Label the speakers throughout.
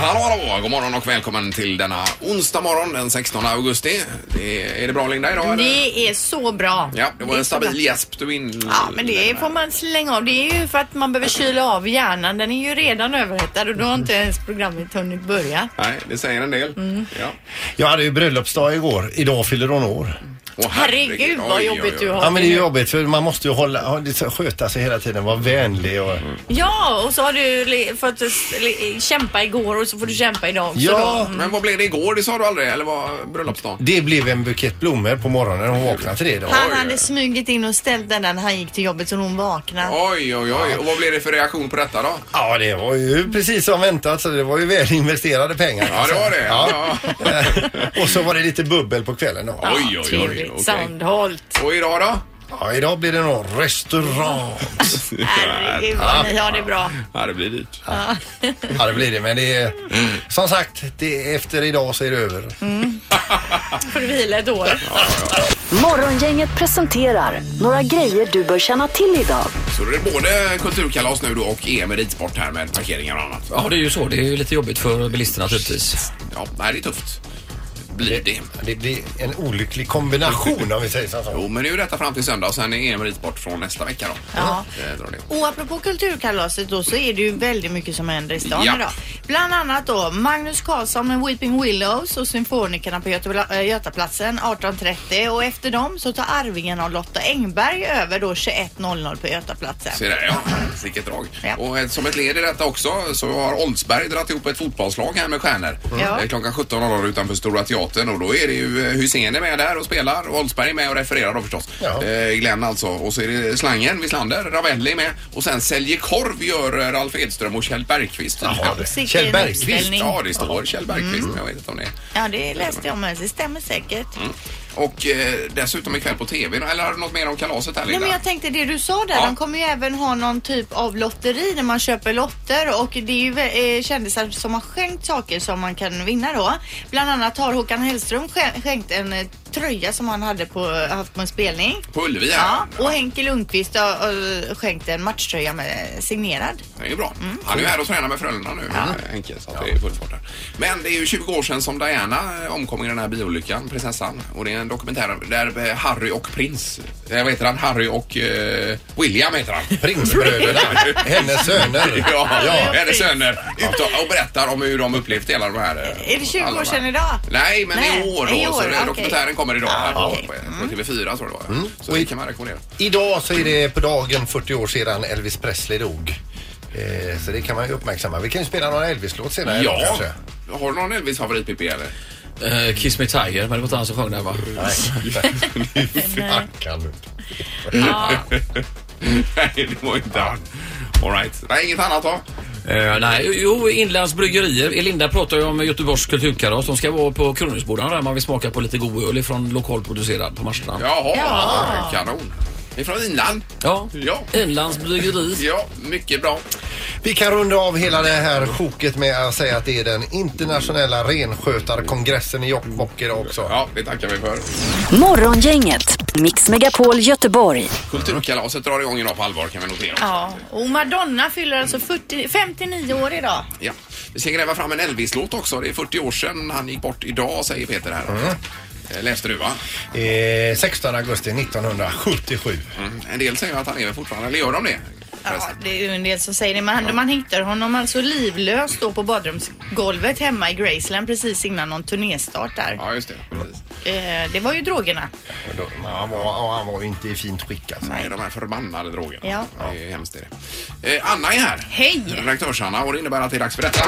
Speaker 1: Ja, god morgon och välkommen till denna onsdag morgon den 16 augusti. Det, är det bra Linda idag? eller?
Speaker 2: Det är så bra.
Speaker 1: Ja, det var
Speaker 2: är
Speaker 1: en
Speaker 2: så bra.
Speaker 1: stabil eh, gäsp du in.
Speaker 2: Ja, men det får man slänga av. Det är ju för att man behöver kyla av hjärnan. Den är ju redan överhettad och då har inte ens programmet hunnit börja.
Speaker 1: Nej, det säger en del.
Speaker 2: Mm.
Speaker 1: Ja.
Speaker 3: Jag hade ju bröllopsdag igår. Idag fyller hon år.
Speaker 1: Åh,
Speaker 2: Herregud vad
Speaker 1: Oj, oj,
Speaker 2: jobbigt
Speaker 1: oj.
Speaker 2: du har.
Speaker 3: Ja men det är ju jobbigt för man måste ju hålla, ha- lite- sköta sig alltså hela tiden, vara vänlig och...
Speaker 1: Mm.
Speaker 2: Ja, och så har du le- fått s- le- kämpa igår och så får du kämpa idag också.
Speaker 3: Ja.
Speaker 2: då.
Speaker 1: Men vad blev det igår? Det sa du aldrig, eller var bröllopsdagen?
Speaker 3: Det blev en bukett blommor på morgonen, hon vaknade till det idag.
Speaker 2: Han
Speaker 1: Oj.
Speaker 2: hade smugit in och ställt den när han gick till jobbet så hon vaknade.
Speaker 1: Oj, oj, oj. Och vad blev det för reaktion på detta då?
Speaker 3: Ja det var ju precis som väntat så det var ju väl investerade pengar.
Speaker 1: Ja, det var det.
Speaker 3: Ja. Eh,
Speaker 1: Ja.
Speaker 3: och så var det lite bubbel på kvällen då.
Speaker 1: Ja. oj, oj, oj,
Speaker 2: Trevligt.
Speaker 1: okej.
Speaker 2: Sandholt.
Speaker 1: Och idag då?
Speaker 3: Ja idag blir det nog restaurang.
Speaker 2: Herregud vad ni har det bra.
Speaker 1: Ja, det blir dyrt.
Speaker 3: Ja det blir det men det är...
Speaker 1: Mm.
Speaker 3: Som sagt, det, efter idag så är det över.
Speaker 2: Får du vila ett år.
Speaker 4: Morgongänget presenterar några grejer du bör känna till idag.
Speaker 1: Så det är både kulturkalas nu då och EM i ridsport här med parkeringar och annat.
Speaker 5: Ja, det är ju så. Det är ju lite jobbigt för bilisterna naturligtvis.
Speaker 1: Ja, nej, det är tufft. Blir det.
Speaker 3: Det blir en olycklig kombination om vi säger så.
Speaker 1: Jo, men nu är detta fram till söndag och sen är EM i ridsport från nästa vecka då.
Speaker 2: Ja.
Speaker 1: Eh, drar det.
Speaker 2: Och apropå kulturkalaset då så är det ju väldigt mycket som händer i stan
Speaker 1: Ja.
Speaker 2: idag. Bland annat då Magnus Karlsson med Weeping Willows och symfonikerna på Götebla- eh, Götaplatsen 18.30 och efter dem så tar Arvingen av Lotta Engberg över då 21.00 på Götaplatsen.
Speaker 1: Se där ja, vilket drag.
Speaker 2: Ja.
Speaker 1: Och eh, som ett led i detta också så har Oldsberg dragit ihop ett fotbollslag här med stjärnor.
Speaker 2: Ja.
Speaker 1: Eh, Klockan 17.00 utanför Stora Teatern och då är det ju eh, Hussein är med där och spelar och Oldsberg är med och refererar då förstås.
Speaker 3: Ja.
Speaker 1: Eh, Glenn alltså. Och så är det Slangen, Wislander, Ravelli är med och sen Säljer korv gör eh, Ralf Edström och Kjell Bergqvist.
Speaker 3: Jaha.
Speaker 2: Och sitter
Speaker 3: Kjell
Speaker 2: i en
Speaker 3: Bergqvist,
Speaker 2: uppställning.
Speaker 1: Ja, det står Kjell Bergqvist,
Speaker 2: Mm.
Speaker 1: men jag vet inte om det är.
Speaker 2: Ja, det läste jag med. Det stämmer säkert.
Speaker 1: Och eh, dessutom ikväll på TV. Eller har du något mer om kalaset här
Speaker 2: Nej,
Speaker 1: Linda?
Speaker 2: men jag tänkte det du sa där.
Speaker 1: Ja.
Speaker 2: De kommer ju även ha någon typ av lotteri när man köper lotter och det är ju eh, kändisar som har skänkt saker som man kan vinna då. Bland annat har Håkan Hellström skän- skänkt en eh, tröja som han hade på, eh, haft på en spelning.
Speaker 1: På Ullevi här.
Speaker 2: Ja, och Henke Lundqvist har eh, skänkt en matchtröja med, eh, signerad.
Speaker 1: Det är ju bra.
Speaker 2: Mm.
Speaker 1: Han är ju här och tränar med Frölunda nu, Henke, så att det är full fart där. Men det är ju 20 år sedan som Diana eh, omkom i den här bilolyckan, prinsessan. Och det är en dokumentär där eh, Harry och prins, eh, vad heter han, Harry och eh, William heter han.
Speaker 3: Prinsbröderna, hennes söner.
Speaker 1: Ja,
Speaker 2: Harry
Speaker 1: ja
Speaker 2: och
Speaker 1: hennes
Speaker 2: prins.
Speaker 1: söner. Ut och, och berättar om hur de upplevt hela de här... eh,
Speaker 2: Är det 20
Speaker 1: alla de här.
Speaker 2: år sedan idag?
Speaker 1: Nej, men
Speaker 2: Nej,
Speaker 1: i år då.
Speaker 2: i år,
Speaker 1: så det-
Speaker 2: okej. Ah,
Speaker 1: Dokumentären kommer idag här på,
Speaker 2: okej. Mm.
Speaker 1: på TV4 tror jag det var. Så det kan man rekommendera.
Speaker 3: Idag så är det på dagen 40 år sedan Elvis Presley dog. Eh, så det kan man ju uppmärksamma. Vi kan ju spela några Elvis-låt senare. idag
Speaker 1: Ja.
Speaker 3: kanske.
Speaker 1: Har du någon Elvis-favorit Pippi eller?
Speaker 5: Eh, Kiss Me Tiger, men det var inte han som sjöng den va?
Speaker 3: Kan du?
Speaker 1: Nej, det var inte han. All right. Nej, inget annat då?
Speaker 5: Eh, nej, jo, Inlands Bryggerier. Elinda pratar ju om Göteborgs kulturkalas. De ska vara på Kronhusbodarna där man vill smaka på lite god öl från lokalproducerad på Marstrand.
Speaker 1: Jaha,
Speaker 2: Ja.
Speaker 1: kanon. Ifrån inland?
Speaker 5: Ja.
Speaker 1: Ja.
Speaker 5: Inlands Bryggeri.
Speaker 1: Ja, mycket bra.
Speaker 3: Vi kan runda av hela det här sjoket med att säga att det är den internationella renskötarkongressen i Jokkmokk idag också.
Speaker 1: Ja, det tackar vi för.
Speaker 4: Morgongänget, Mix Megapol Göteborg.
Speaker 1: Kulturkalaset drar igång idag på allvar kan vi notera.
Speaker 2: Ja, och Madonna fyller alltså 40, 59 år idag.
Speaker 1: Ja. Vi ska gräva fram en Elvis-låt också. Det är 40 år sedan han gick bort idag, säger Peter här. Eh, Läste du va?
Speaker 3: Eh, 16 augusti 1977.
Speaker 1: Mm. En del säger att han lever fortfarande, eller gör de det?
Speaker 2: Ja, det är ju en del som säger det. Men han, man hittar honom alltså livlös då på badrumsgolvet hemma i Graceland precis innan någon turnéstart där.
Speaker 1: Ja, just det. Precis.
Speaker 2: Eh, det var ju drogerna.
Speaker 3: Men då- Han var, ja, han var ju inte i fint skick alltså.
Speaker 1: Nej, de här förbannade drogerna.
Speaker 2: Ja.
Speaker 1: Det är hemskt. Är det. Eh, Anna är här.
Speaker 2: Hej!
Speaker 1: Redaktörs-Anna och det innebär att det är dags för detta.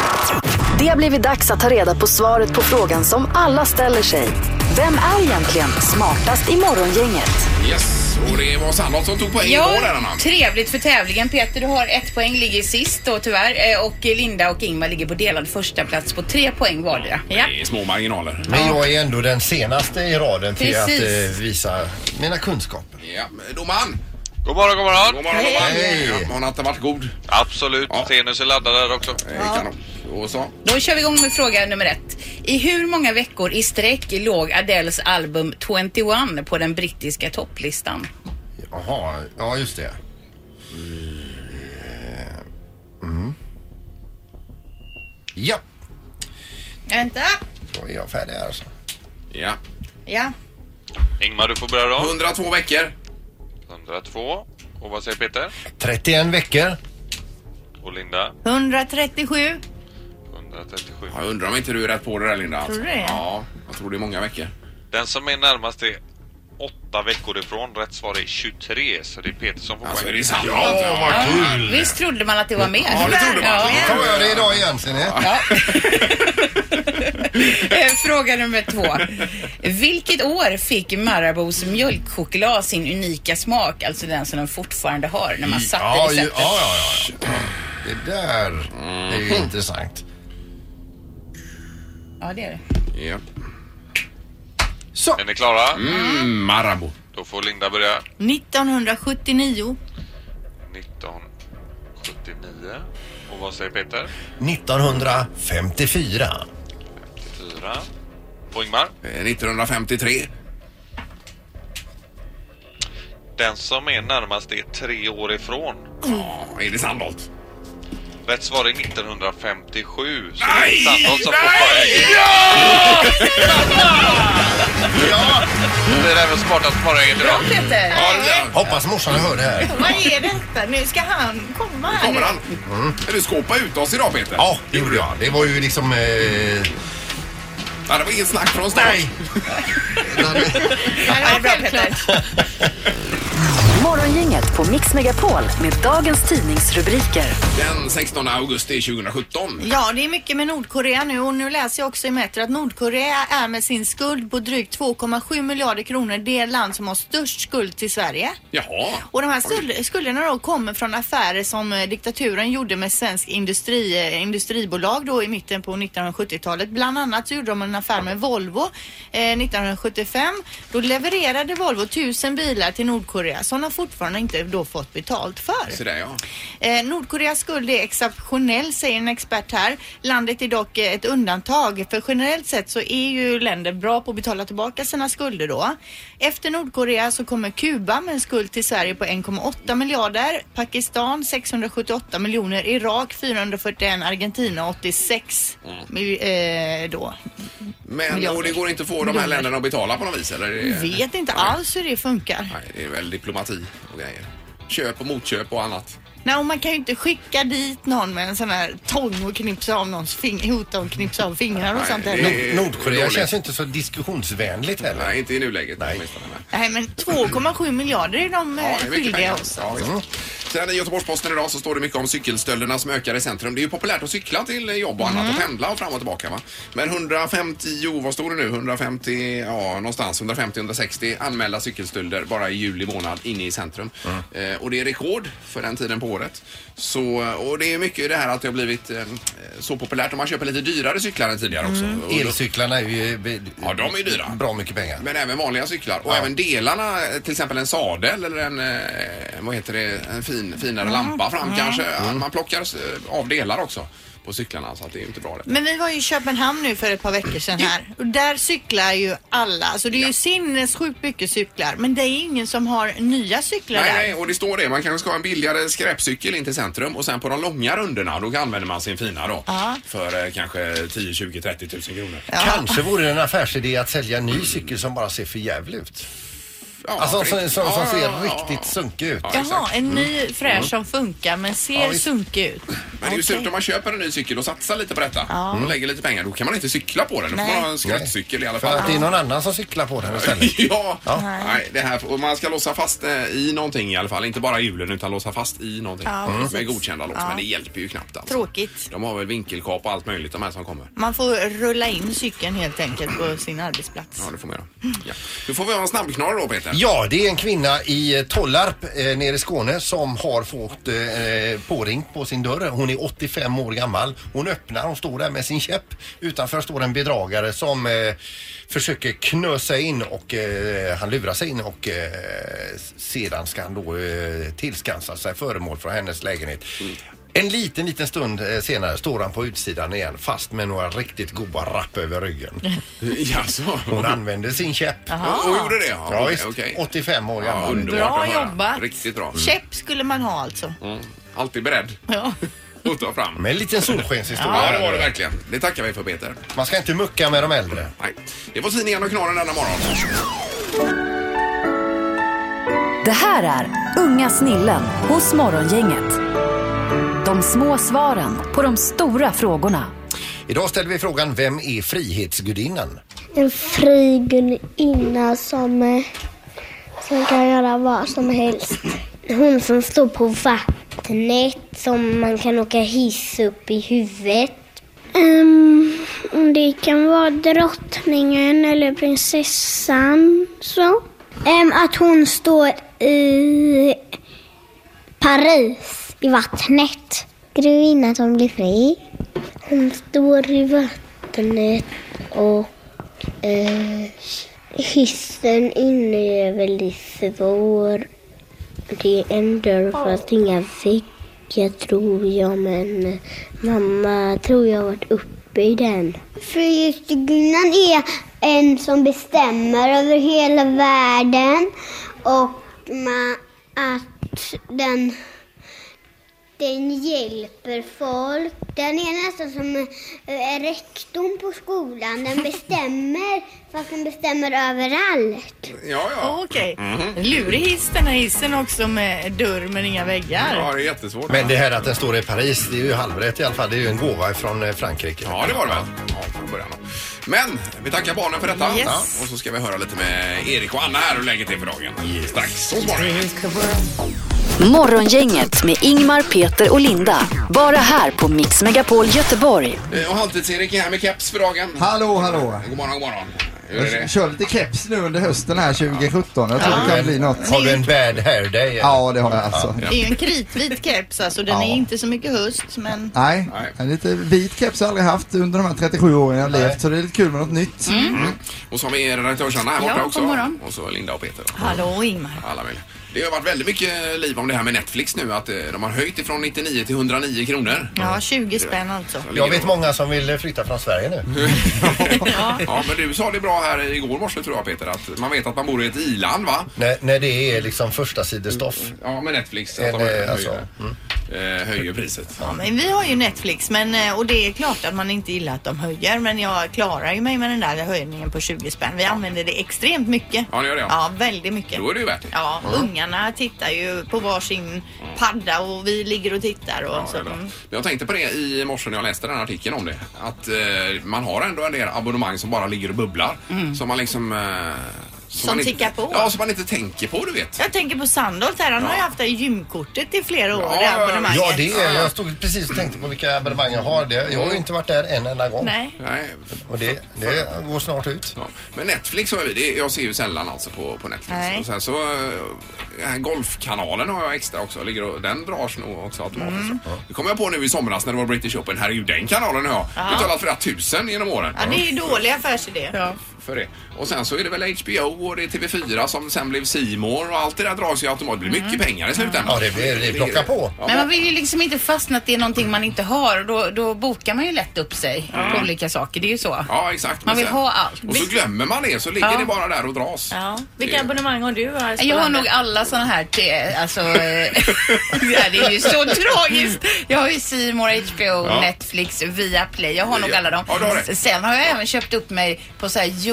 Speaker 4: Det har blivit dags att ta reda på svaret på frågan som alla ställer sig. Vem är egentligen smartast i Morgongänget?
Speaker 1: Yes, och det var Sandholt som tog poäng igår där Anna.
Speaker 6: Ja, trevligt för tävlingen. Peter, du har ett poäng, ligger sist då tyvärr. Eh, Och Linda och Ingmar ligger på delad första plats på tre poäng vardera.
Speaker 2: Ja.
Speaker 1: Det är små marginaler.
Speaker 3: Men jag är ändå den senaste i raden till
Speaker 6: Precis.
Speaker 3: att eh, visa mina kunskaper.
Speaker 1: Ja, domaren.
Speaker 7: God morgon,
Speaker 1: God
Speaker 7: god morgon.
Speaker 1: morgon,
Speaker 6: Hej.
Speaker 1: domaren.
Speaker 3: Hej.
Speaker 1: Ja, hon har inte varit god.
Speaker 7: Absolut.
Speaker 1: Ja.
Speaker 7: Tenus är laddad där också.
Speaker 1: Eh, Kanon. Och så.
Speaker 6: Då kör vi igång med fråga nummer ett. I hur många veckor i sträck låg Adeles album 21 på den brittiska topplistan?
Speaker 3: Jaha, ja just det. Mm. Ja.
Speaker 2: Vänta.
Speaker 3: Då är jag färdig här alltså.
Speaker 1: Ja.
Speaker 2: Ja.
Speaker 7: Ingmar, du får börja då.
Speaker 1: 102 veckor.
Speaker 7: 102. Och vad säger Peter?
Speaker 3: 31 veckor.
Speaker 7: Och Linda?
Speaker 2: 137.
Speaker 7: 137.
Speaker 1: Ja, jag undrar om inte du är rätt på det där Linda. Alltså.
Speaker 2: Tror du det?
Speaker 1: Ja, jag tror det är många veckor.
Speaker 7: Den som är närmast är åtta veckor ifrån. Rätt svar är 23, så det är Peter som får
Speaker 1: Alltså är
Speaker 7: poäng.
Speaker 1: det sant? Ja,
Speaker 6: Ja, Visst trodde man att det var mer?
Speaker 1: Ja, det trodde man.
Speaker 6: Ja.
Speaker 3: Då gör jag det idag igen ser ni.
Speaker 6: Eh, Fråga nummer två. Vilket år fick Marabous mjölkchoklad sin unika smak, alltså den som de fortfarande har när man satte
Speaker 3: Ja, ju, ja,
Speaker 6: receptet?
Speaker 3: ja, ja. ja. Det där det är ju
Speaker 1: Mm.
Speaker 3: intressant.
Speaker 6: ja, det är det.
Speaker 1: ja.
Speaker 3: Så.
Speaker 7: Är ni klara?
Speaker 1: Mm, Marabou.
Speaker 7: Då får Linda börja.
Speaker 2: 1979.
Speaker 7: 1979. Och vad säger Peter?
Speaker 3: 1954.
Speaker 7: 4. Och Ingmar?
Speaker 1: Eh, 1953.
Speaker 7: Den som är närmast är tre år ifrån.
Speaker 1: Ja, är det Sandholt?
Speaker 7: Rätt svar är 1957. Så det är
Speaker 1: Nej!
Speaker 7: Sandholt som får poäng.
Speaker 3: Ja.
Speaker 7: Det är även smartast morgongänget
Speaker 6: Bra
Speaker 7: idag.
Speaker 6: Peter!
Speaker 1: Ja, det är-
Speaker 3: Hoppas morsan hör det här.
Speaker 2: Vad är detta? Nu ska han komma här.
Speaker 1: Kommer
Speaker 2: nu.
Speaker 1: han? Är du skåpa ut oss idag Peter?
Speaker 3: Ja, det gjorde jag. Det var ju liksom... Eh,
Speaker 1: Ja, det var inget snack från start.
Speaker 6: Ja, det är bra Peter.
Speaker 4: Morgongänget på Mix Megapol med dagens tidningsrubriker.
Speaker 1: Den 16 augusti 2017.
Speaker 2: Ja, det är mycket med Nordkorea nu och nu läser jag också i Metro att Nordkorea är med sin skuld på drygt 2,7 miljarder kronor det land som har störst skuld till Sverige.
Speaker 1: Jaha.
Speaker 2: Och de här skuld- skulderna då kommer från affärer som eh, diktaturen gjorde med svensk industri, eh, industribolag då i mitten på 1970-talet. Bland annat så gjorde de en affär med Volvo eh, 1975. Då levererade Volvo tusen bilar till Nordkorea som de fortfarande inte då fått betalt för.
Speaker 1: Så där ja.
Speaker 2: Eh, Nordkoreas skuld är exceptionell säger en expert här. Landet är dock eh, ett undantag för generellt sett så är ju länder bra på att betala tillbaka sina skulder då. Efter Nordkorea så kommer Kuba med en skuld till Sverige på 1,8 miljarder, Pakistan 678 miljoner, Irak 441, Argentina 86
Speaker 1: Mm.
Speaker 2: mil- eh, då.
Speaker 1: Men
Speaker 2: Miljarder.
Speaker 1: och det går inte att få de här länderna att betala på något vis eller? Är det-
Speaker 2: Vet inte alls hur det funkar.
Speaker 1: Nej, det är väl diplomati och grejer. Köp och motköp och annat.
Speaker 2: Nej, och man kan ju inte skicka dit någon med en sån här tång och knipsa av någons fing- hota och knipsa av fingrar och
Speaker 1: Nej,
Speaker 2: sånt
Speaker 1: det-
Speaker 2: där.
Speaker 3: Nord- Nordkorea
Speaker 1: Dåligt.
Speaker 3: känns ju inte så diskussionsvänligt heller.
Speaker 1: Nej, inte i nuläget
Speaker 3: Nej.
Speaker 1: åtminstone. Nej.
Speaker 2: Nej men 2,7 miljarder är de eh,
Speaker 1: Ja, det är mycket
Speaker 2: skyldiga
Speaker 1: pengar.
Speaker 2: oss.
Speaker 1: Ja, visst. Sen i Göteborgs-Posten idag så står det mycket om cykelstölderna som ökar i centrum. Det är ju populärt att cykla till jobb och annat och pendla och fram och tillbaka va. Men 150, vad står det nu? 150, ja någonstans 150-160 anmälda cykelstölder bara i juli månad inne i centrum. Eh, och det är rekord för den tiden på året. Så, och det är mycket det här att det har blivit eh, så populärt och man köper lite dyrare cyklar än tidigare också. Och då-
Speaker 3: Elcyklarna är ju... eh, be-
Speaker 1: Ja, de är ju dyra.
Speaker 3: Bra mycket pengar.
Speaker 1: Men även vanliga cyklar och
Speaker 3: Ja.
Speaker 1: även delarna, till exempel en sadel eller en, eh, vad heter det, en fin, finare lampa fram kanske.
Speaker 2: Mm.
Speaker 1: Att Man plockar eh, av delar också på cyklarna så att det är ju inte bra det.
Speaker 2: Men vi var ju i Köpenhamn nu för ett par veckor sedan här och där cyklar ju alla. Alltså det är ju sinnessjukt mycket cyklar men det är ingen som har nya cyklar
Speaker 1: Nej,
Speaker 2: där.
Speaker 1: nej, och det står det. Man kanske ska ha en billigare skräpcykel in till centrum och sen på de långa rundorna då använder man sin fina då.
Speaker 2: Ja.
Speaker 1: För eh, kanske 10, 20, 30 tusen kronor. Ja,
Speaker 3: Kanske vore det en affärsidé att sälja en ny cykel som bara ser för jävlig ut. Alltså
Speaker 1: för-
Speaker 3: som, som, som
Speaker 1: ja,
Speaker 3: ser
Speaker 1: ja, ja,
Speaker 3: riktigt
Speaker 1: ja.
Speaker 3: sunkig ut.
Speaker 1: Ja,
Speaker 2: Jaha,
Speaker 1: exakt. Mm.
Speaker 2: en ny fräsch som funkar men
Speaker 3: Ja,
Speaker 2: ser
Speaker 3: visst.
Speaker 2: sunkig ut.
Speaker 1: Men det är ju
Speaker 2: Okej.
Speaker 1: surt om man köper en ny cykel och satsar lite på detta
Speaker 2: Ja.
Speaker 1: och lägger lite pengar. Då kan man inte cykla på den. Då får
Speaker 2: Nej.
Speaker 1: man ha en skräpcykel i alla
Speaker 3: För
Speaker 1: fall.
Speaker 3: att det är någon annan som cyklar på den istället.
Speaker 1: Ja,
Speaker 3: Ja.
Speaker 1: Nej. det här, och man ska låsa fast eh, i någonting i alla fall. Inte bara i hjulen utan låsa fast i någonting. Mm.
Speaker 2: Ja,
Speaker 1: Med
Speaker 2: precis.
Speaker 1: godkända lås,
Speaker 2: Ja.
Speaker 1: men det hjälper ju knappt alls.
Speaker 2: Tråkigt.
Speaker 1: De har väl vinkelkap och allt möjligt de här som kommer.
Speaker 2: Man får rulla in cykeln helt enkelt på sin arbetsplats.
Speaker 1: Ja, det får man göra. Ja. Nu får vi ha en snabbknorr då Peter.
Speaker 3: Ja, det är en kvinna i eh, Tollarp eh, nere i Skåne som har fått eh, påringt på sin dörr. Hon är 85 år gammal. Hon öppnar, hon står där med sin käpp. Utanför står en bedragare som eh, försöker knösa in och eh, han lurar sig in och eh, sedan ska han då eh, tillskansa sig föremål från hennes lägenhet.
Speaker 1: Mm.
Speaker 3: En liten, liten stund eh, senare står han på utsidan igen fast med några riktigt goda rapp över ryggen.
Speaker 1: Jaså?
Speaker 3: Hon använder sin käpp.
Speaker 1: Och, och gjorde det? Ja,
Speaker 3: Ja,
Speaker 1: okej,
Speaker 3: visst.
Speaker 1: okej.
Speaker 3: 85 år
Speaker 1: Ja,
Speaker 3: gammal.
Speaker 1: underbart
Speaker 2: Bra
Speaker 1: att höra. Mm.
Speaker 2: jobbat.
Speaker 1: Riktigt bra.
Speaker 2: Käpp skulle man ha alltså.
Speaker 1: Mm. Alltid beredd.
Speaker 2: Ja.
Speaker 1: att ta fram.
Speaker 3: Med en liten solskenshistoria.
Speaker 1: Ja, det var det verkligen. Det tackar vi för Peter.
Speaker 3: Man ska inte mucka med de äldre.
Speaker 1: Nej. Det var tidningen och knorren denna morgon.
Speaker 4: Det här är Unga snillen hos Morgongänget. De små svaren på de stora frågorna.
Speaker 3: Idag ställer vi frågan Vem är frihetsgudinnan?
Speaker 8: En fri gudinna som, eh, som kan göra vad som helst. Hon som står på vattnet som man kan åka hiss upp i huvudet. Ehm, det kan vara drottningen eller prinsessan. Så. Ehm, att hon står i Paris i vattnet. Grevinnan som blir fri. Hon står i vattnet och eh, hissen inne är väldigt svår. Det är en dörr fast inga väggar tror jag men eh, mamma tror jag har varit uppe i den. Frihetsgudinnan är en som bestämmer över hela världen och ma- att den den hjälper folk. Den är nästan som eh, rektorn på skolan. Den bestämmer, fast den bestämmer överallt.
Speaker 1: Ja, ja.
Speaker 2: Okej.
Speaker 1: Mm.
Speaker 2: Lurig hiss den här hissen också med dörr men inga väggar.
Speaker 1: Ja, det är jättesvårt.
Speaker 3: Men det här att den står i Paris, det är ju halvrätt i alla fall. Det är ju en gåva från eh, Frankrike.
Speaker 1: Ja, det var det väl? Ja, från början. då. Men vi tackar barnen för detta.
Speaker 2: Yes.
Speaker 1: Ja, och så ska vi höra lite med Erik och Anna här och läget är för dagen. Strax. Hos Morgongänget.
Speaker 4: Morgongänget med Ingmar, Peter och Linda. Bara här på Mix Megapol Göteborg.
Speaker 1: Eh, Och Halvtids-Erik är här med keps för dagen.
Speaker 9: Hallå, hallå.
Speaker 1: God morgon, god morgon. Hur är
Speaker 9: Jag
Speaker 1: det?
Speaker 9: kör lite keps nu under hösten här 2017. Jag tror det kan bli något.
Speaker 3: Har du en bad hair day? eller?
Speaker 9: Ja, det har jag alltså.
Speaker 2: Det är ju en kritvit keps alltså. Den är inte så mycket höst men
Speaker 9: Nej,
Speaker 1: Nej.
Speaker 9: en lite vit keps har jag aldrig haft under de här 37 åren jag har levt. Så det är lite kul med något nytt.
Speaker 1: Mm. Och så har vi redaktörs-Anna här borta
Speaker 2: Ja, god
Speaker 1: också.
Speaker 2: morgon.
Speaker 1: Och så Linda och Peter.
Speaker 2: hallå Ingmar.
Speaker 1: Alla vill. Det har varit väldigt mycket liv om det här med Netflix nu. Att eh, de har höjt ifrån 99 till 109 kronor.
Speaker 2: Ja, 20 spänn alltså.
Speaker 1: Så ligger
Speaker 3: Jag vet
Speaker 1: de-
Speaker 3: många som vill eh, flytta från Sverige nu.
Speaker 1: Ja, men du sa det bra här igår morse tror jag Peter. Att man vet att man bor i ett iland va?
Speaker 3: när, när det är liksom första sidestoff.
Speaker 1: Ja, med Netflix. Att de
Speaker 3: Eh,
Speaker 1: höjer,
Speaker 3: alltså,
Speaker 1: eh, höjer priset.
Speaker 2: Ja, men vi har ju Netflix men, eh, och det är klart att man inte gillar att de höjer men jag klarar ju mig med den där höjningen på 20 spänn. Vi använder det extremt mycket.
Speaker 1: Ja, ni gör det, ja.
Speaker 2: Ja, väldigt mycket.
Speaker 1: Då är det ju värt det.
Speaker 2: Ja, ungarna tittar ju på varsin padda och vi ligger och tittar. Och så.
Speaker 1: Ja, det är bra.
Speaker 2: Mm.
Speaker 1: Men Jag tänkte på det i morse när jag läste den här artikeln om det. Att eh, man har ändå en del abonnemang som bara ligger och bubblar. Som man liksom... Eh,
Speaker 2: Mm. Som
Speaker 1: man
Speaker 2: tickar på.
Speaker 1: Ja, som man inte tänker på du vet.
Speaker 2: Jag tänker på Sandholt här, han har ju haft det här gymkortet i flera år.
Speaker 1: Ja,
Speaker 2: det
Speaker 1: ja, ja.
Speaker 2: abonnemanget.
Speaker 3: Ja, det är Jag stod precis och tänkte på vilka abonnemang jag har. Det, jag har ju inte varit där en enda gång.
Speaker 2: Nej.
Speaker 1: Nej.
Speaker 3: Och det, det går snart ut.
Speaker 1: Ja. Men Netflix har vi. Det, jag ser ju sällan alltså på, på Netflix.
Speaker 2: Nej.
Speaker 1: Och sen så... eh, den här golfkanalen har jag extra också. Ligger och, den dras nog också automatiskt.
Speaker 2: Mm.
Speaker 1: Det kom jag på nu i somras när det var British Open. Herregud, den kanalen har jag betalat flera tusen genom åren.
Speaker 2: Ja, det är ju dålig affärsidé.
Speaker 1: för det. Och sen så är det väl HBO och det är TV4 som sen blev Simor och allt det där dras ju automatiskt. Det blir mycket pengar i slutändan.
Speaker 3: Mm. Ja, det blir- det plockar på.
Speaker 1: Ja,
Speaker 6: Men man vill ju liksom inte fastna att det är någonting man inte har och då, då bokar man ju lätt upp sig på olika saker. Det är ju så.
Speaker 1: ja, exakt.
Speaker 6: Man
Speaker 1: Men
Speaker 6: vill ha allt.
Speaker 1: Och så glömmer man det så ligger
Speaker 6: Ja.
Speaker 1: det bara där och dras.
Speaker 2: Ja.
Speaker 1: Det
Speaker 2: Vilka
Speaker 1: är-
Speaker 2: abonnemang har du? Här,
Speaker 6: Jag har
Speaker 2: Spolander?
Speaker 6: nog alla sådana här te, alltså, eh, ja, det är ju så tragiskt. Jag har ju C More, HBO, Netflix, Viaplay. Jag har nog
Speaker 1: Ja.
Speaker 6: alla dem.
Speaker 1: Ja, du har det.
Speaker 6: Sen har jag även köpt upp mig på så här ju-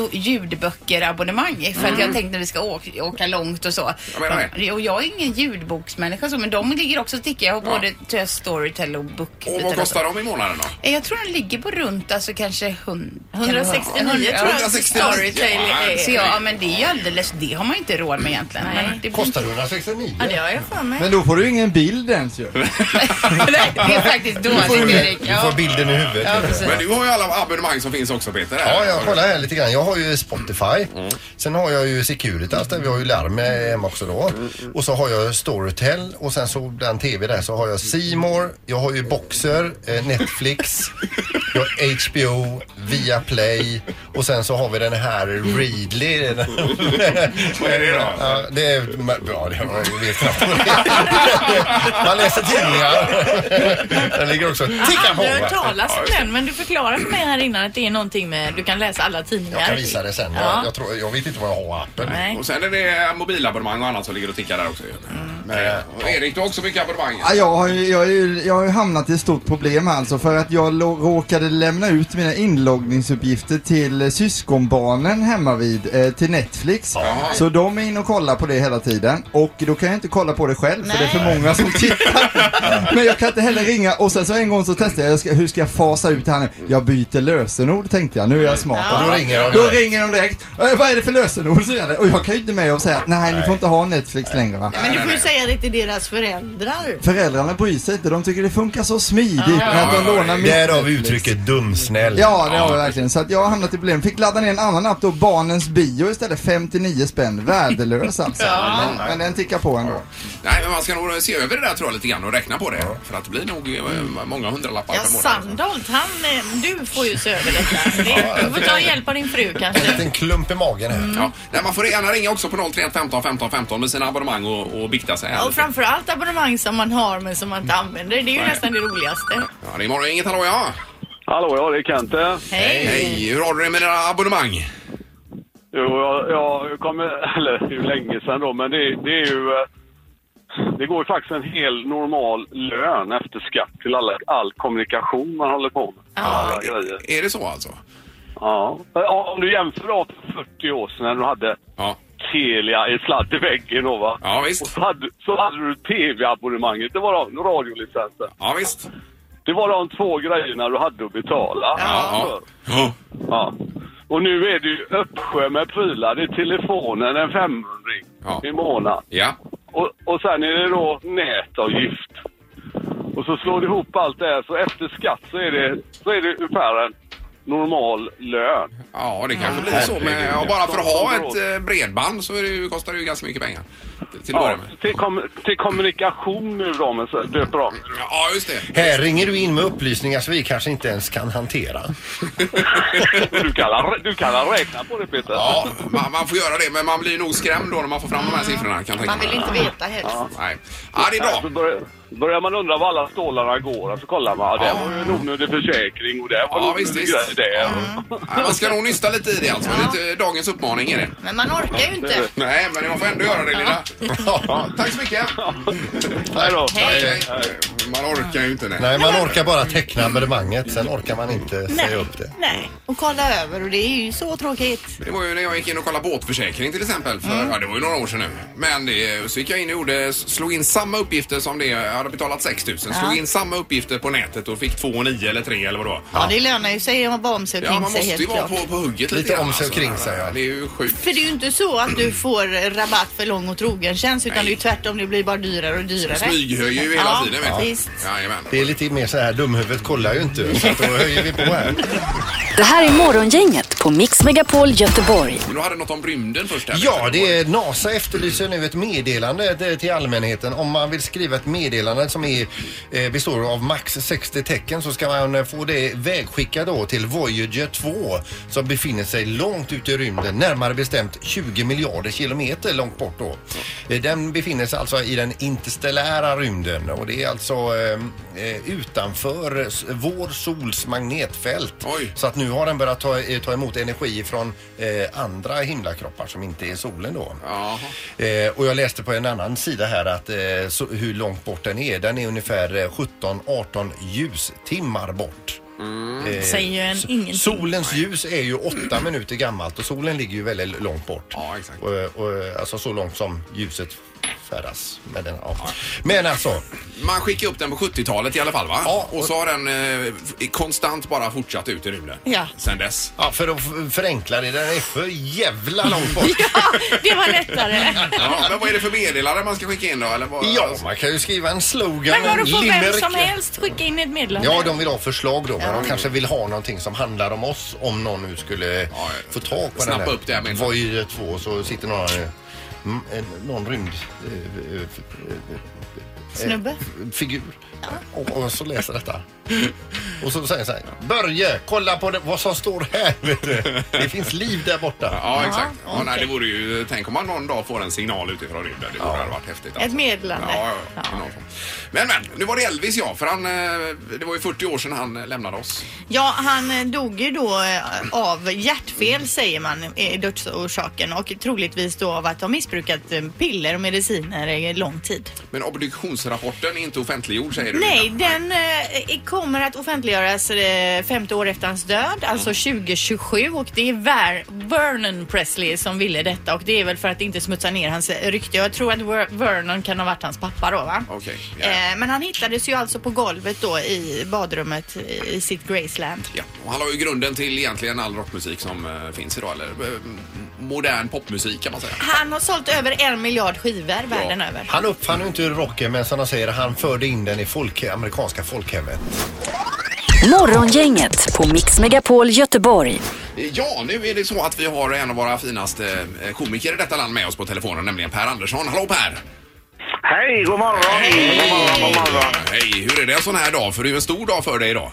Speaker 6: ljudböcker-abonnemang för
Speaker 1: Mm.
Speaker 6: att jag tänkte att vi ska åka, åka långt och så.
Speaker 1: Jag menar
Speaker 6: Och jag är ingen ljudboksmänniska så, men de ligger också och tickar. Jag har
Speaker 1: Ja.
Speaker 6: både Tös Storytel och Bookbit.
Speaker 1: Och vad kostar de i månaden då?
Speaker 6: Eh, Jag tror den ligger på runt alltså kanske hund-
Speaker 2: 169
Speaker 6: Ja.
Speaker 2: tror jag.
Speaker 1: 169.
Speaker 2: Storytel är.
Speaker 6: Så ja, ja, men det är ju alldeles, det har man ju inte råd med egentligen.
Speaker 2: Nej.
Speaker 6: Men det blir-
Speaker 3: Kostar 169?
Speaker 2: Ja, det har jag för mig.
Speaker 9: Men då får du ingen bild ens ju.
Speaker 6: Nej, det är faktiskt dåligt Erik.
Speaker 3: Du
Speaker 6: Ja.
Speaker 3: får bilden i huvudet.
Speaker 6: Ja, precis.
Speaker 1: Men du har ju alla abonnemang som finns också Peter. här.
Speaker 3: Ja, jag kollar här lite grann. Jag har ju Spotify.
Speaker 1: Mm.
Speaker 3: Sen har jag ju Securitas där vi har ju larm eh, hemma också då.
Speaker 1: Mm,
Speaker 3: Och så har jag Storytel och sen så den TV där så har jag Seymour. Jag har ju Boxer, eh, Netflix, jag har HBO, Viaplay och sen så har vi den här Readly.
Speaker 1: Vad är det då?
Speaker 3: Ja, det är... men- Ja, det jag vet knappt vad det är. Man läser tidningar. Den ligger också och tickar på.
Speaker 2: Aldrig hört
Speaker 3: va?
Speaker 2: talas om den, men du förklarar för mig här innan att det är någonting med, du kan läsa alla tidningar.
Speaker 3: Jag kan visa det sen. Jag, jag, tror, jag vet inte vad jag har appen.
Speaker 2: Nej.
Speaker 1: Och sen är det mobilabonnemang och annat som ligger och tickar där också. ju. Nej. Och Erik, du har också mycket abonnemang.
Speaker 9: Ja, Jag har, ju, jag, är ju, jag har ju hamnat i ett stort problem här alltså för att jag lo- råkade lämna ut mina inloggningsuppgifter till eh, syskonbarnen hemma vid eh, till Netflix.
Speaker 1: Jaha.
Speaker 9: Så de är inne och kollar på det hela tiden och då kan jag inte kolla på det själv för det är för
Speaker 2: Nej.
Speaker 9: många som tittar. Men jag kan inte heller ringa och sen så en gång så testade jag, jag ska, hur ska jag fasa ut det här nu? Jag byter lösenord tänkte jag, nu är jag smart.
Speaker 2: Ja.
Speaker 3: Då ringer de
Speaker 9: Då
Speaker 3: direkt.
Speaker 9: ringer de direkt. "Eh, Vad är det för lösenord? säger jag det. Och jag kan ju inte med och säga att nej, ni får inte ha Netflix längre va.
Speaker 2: Men du får ju säga det till deras föräldrar.
Speaker 9: Föräldrarna bryr sig inte, de tycker det funkar så smidigt med att de
Speaker 1: ja,
Speaker 9: lånar mitt
Speaker 3: Därav
Speaker 9: Netflix.
Speaker 3: uttrycket dumsnäll.
Speaker 9: Ja, det har vi verkligen. Så att jag har hamnat i problem. Fick ladda ner en annan app då, Barnens bio istället, 59 spänn. Värdelös alltså. men, men den tickar på ändå.
Speaker 1: Nej, men man ska nog se över det där tror jag lite grann och räkna på det. För att det blir nog eh, många hundralappar
Speaker 2: Ja,
Speaker 1: per månad.
Speaker 2: Sandholt, han, eh, du får ju se över detta. Det- Du får ta hjälp av din fru
Speaker 3: En
Speaker 2: kanske.
Speaker 3: liten klump i magen här.
Speaker 1: Ja. Nej, man får gärna ringa också på 031 15 15 15 med sina abonnemang och, och bikta sig här.
Speaker 2: Och
Speaker 1: lite.
Speaker 2: framförallt abonnemang som man har men som man inte använder. Det är ju nästan det roligaste.
Speaker 1: Ja, det är imorgon. Inget hallå ja.
Speaker 10: Hallå, ja det är Kente.
Speaker 2: Hej!
Speaker 1: Hej, hur har du det med dina abonnemang?
Speaker 10: Jo, jag, jag kommer, eller det är ju länge sedan då, men det, det är ju... eh, Det går ju faktiskt en hel normal lön efter skatt till alla, all kommunikation man håller på med. Alla grejer.
Speaker 1: Är det så alltså?
Speaker 10: Ja. Ja, Om du jämför då för 40 år sedan när du hade
Speaker 1: Ja,
Speaker 10: Telia i sladd i väggen då va?
Speaker 1: ja
Speaker 10: Och
Speaker 1: visst.
Speaker 10: så hade, så hade du TV-abonnemanget, det var då radiolicensen.
Speaker 1: Ja, visst.
Speaker 10: Det var de två grejerna du hade att betala.
Speaker 1: Ja, ja. ja.
Speaker 10: Ja. Och nu är det ju uppsjö med prylar. Det är telefonen, en 500-ring
Speaker 1: Ja.
Speaker 10: i månaden.
Speaker 1: ja.
Speaker 10: Och, och sen är det då nätavgift. Och så slår du ihop allt det här, så efter skatt så är det, så är det ungefär en normal lön.
Speaker 1: Ja, det kanske blir så. Men ja, bara för att ha ett eh, bredband så är det, ju- kostar det ju ganska mycket pengar. Till- Till att
Speaker 10: Ja,
Speaker 1: börja med.
Speaker 10: till, kom, till kommunikation nu då, men så döper om.
Speaker 1: Ja, just det.
Speaker 3: Här ringer du in med upplysningar som vi kanske inte ens kan hantera.
Speaker 10: Du kan, du kan räkna på det Peter.
Speaker 1: Ja, man, man får göra det, men man blir nog skrämd då när man får fram de här siffrorna. Kan jag tänka
Speaker 2: Man vill
Speaker 1: mig.
Speaker 2: inte veta helst.
Speaker 1: Nej. Ja, det är bra.
Speaker 10: Så börjar, börjar man undra var alla stålarna går Alltså, och så kollar man. Ja, det var ju en onödig försäkring och det var
Speaker 1: Ja,
Speaker 10: en
Speaker 1: visst,
Speaker 10: onödig
Speaker 1: visst.
Speaker 10: grej där.
Speaker 1: Ja, man ska nog nysta lite i det alltså. Det är lite dagens uppmaning är det.
Speaker 2: Men man orkar ju inte.
Speaker 1: Nej, men man får ändå göra det lilla. Ja, tack så mycket.
Speaker 10: Nej då.
Speaker 1: Hej. Man orkar ju inte. Nej.
Speaker 3: Nej, man orkar bara teckna abonnemanget, sen orkar man inte säga upp det.
Speaker 2: Nej. Och kolla över och det är ju så tråkigt.
Speaker 1: Det var ju när jag gick in och kollade båtförsäkring till exempel. För, ja, det var ju några år sedan nu. Men det, så gick jag in och gjorde, slog in samma uppgifter som det jag hade betalat 6 000. Slog in samma uppgifter på nätet och fick 2 9 eller 3 eller vad det var.
Speaker 2: Ja, det lönar ju sig att vara om sig och
Speaker 1: Ja,
Speaker 2: kring
Speaker 1: man
Speaker 2: sig
Speaker 1: måste ju
Speaker 2: helt
Speaker 1: vara
Speaker 2: klart.
Speaker 1: på, på hugget lite,
Speaker 3: Lite
Speaker 1: grann, alltså.
Speaker 3: om sig och kring sig, ja.
Speaker 1: Det är ju sjukt.
Speaker 2: För det är ju inte så att du får rabatt för lång och trogen tjänst utan det är ju tvärtom, det blir bara dyrare och dyrare.
Speaker 1: Smyghöjer ju hela
Speaker 2: ja,
Speaker 1: tiden vet du.
Speaker 2: Visst.
Speaker 1: Jajamän.
Speaker 3: Det är lite mer så här, dumhuvudet kollar ju inte, så att då höjer vi på här.
Speaker 4: Det här är Morgongänget på Mix Megapol Göteborg.
Speaker 1: Men du hade något om rymden först här.
Speaker 3: Ja, det är, NASA efterlyser nu ett meddelande t- till allmänheten. Om man vill skriva ett meddelande som är, eh, består av max 60 tecken så ska man eh, få det vägskickat då till Voyager 2 som befinner sig långt ute i rymden, närmare bestämt 20 miljarder kilometer långt bort då. Eh, Den befinner sig alltså i den interstellära rymden och det är alltså eh, eh, utanför s- vår sols magnetfält.
Speaker 1: Oj.
Speaker 3: Så att nu har den börjat ta, eh, ta emot energi från eh, andra himlakroppar som inte är solen då.
Speaker 1: Jaha.
Speaker 3: Eh, och jag läste på en annan sida här att eh, så, hur långt bort den är. Den är ungefär 17-18 ljustimmar bort.
Speaker 1: Mm.
Speaker 3: Eh,
Speaker 2: Säger ju en
Speaker 3: so-
Speaker 2: ingenting.
Speaker 3: Solens ljus är ju åtta minuter gammalt och solen ligger ju väldigt långt bort.
Speaker 1: Ja, exakt.
Speaker 3: Och, och, alltså så långt som ljuset färdas. Med den, ja. Men alltså,
Speaker 1: Man skickade upp den på 70-talet i alla fall va?
Speaker 3: Ja.
Speaker 1: Och så har den eh, f- konstant bara fortsatt ut i rymden.
Speaker 2: Ja.
Speaker 1: Sen dess.
Speaker 3: ja, för att f- förenkla det, den är för jävla långt bort.
Speaker 2: Det var lättare.
Speaker 1: Ja, men vad är det för meddelande man ska skicka in då? Eller vad?
Speaker 3: Ja, man kan ju skriva en slogan.
Speaker 2: Men vadå
Speaker 3: en
Speaker 2: får vem
Speaker 3: limerick.
Speaker 2: som helst skicka in ett meddelande?
Speaker 3: Ja, de vill ha förslag då, men de kanske vill ha någonting som handlar om oss om någon nu skulle
Speaker 1: ja.
Speaker 3: få tag på
Speaker 1: Snappa
Speaker 3: den här.
Speaker 1: upp det här med-
Speaker 3: Voyager 2 så sitter några, eh, m- en- någon rymd... eh, eh, f- eh,
Speaker 2: Snubbe.
Speaker 3: figur. Och, och så läser detta. Och så säger han så här, Börje, kolla på det, vad som står här. Vet du. Det finns liv där borta.
Speaker 1: Ja, exakt. Ja, nej, det vore ju, tänk om man någon dag får en signal utifrån rymden. Det vore ha varit häftigt. alltså.
Speaker 2: Ett meddelande.
Speaker 1: Ja, ja, i någon form. Men, men, nu var det Elvis ja, för han, eh, det var ju 40 år sedan han eh, lämnade oss.
Speaker 2: Ja, han eh, dog ju då eh, av hjärtfel säger man är dödsorsaken och troligtvis då av att ha missbrukat eh, piller och mediciner i lång tid.
Speaker 1: Men obduktionsrapporten är inte offentliggjord säger du?
Speaker 2: Nej,
Speaker 1: Linda.
Speaker 2: den eh, kommer att offentliggöras eh, femte år efter hans död, alltså 2027 och det är Ver- Vernon Presley som ville detta och det är väl för att inte smutsa ner hans eh, rykte. Jag tror att Ver- Vernon kan ha varit hans pappa då va?
Speaker 1: Okej. ja.
Speaker 2: Eh, Men han hittades ju alltså på golvet då i badrummet i- i sitt Graceland.
Speaker 1: Ja, och han har ju grunden till egentligen all rockmusik som eh, finns idag, eller eh, modern popmusik kan man säga.
Speaker 2: Han har sålt över en miljard skivor världen över.
Speaker 3: Han uppfann ju inte rocken men som de säger, han förde in den i folk, amerikanska folkhemmet.
Speaker 4: Morgongänget på Mix Megapol Göteborg.
Speaker 1: Eh, Ja, nu är det så att vi har en av våra finaste eh, komiker i detta land med oss på telefonen, nämligen Per Andersson. Hallå Per!
Speaker 11: Hej, god morgon! God morgon, god morgon.
Speaker 1: Hej! Hur är det en sån här dag? För det är ju en stor dag för dig idag.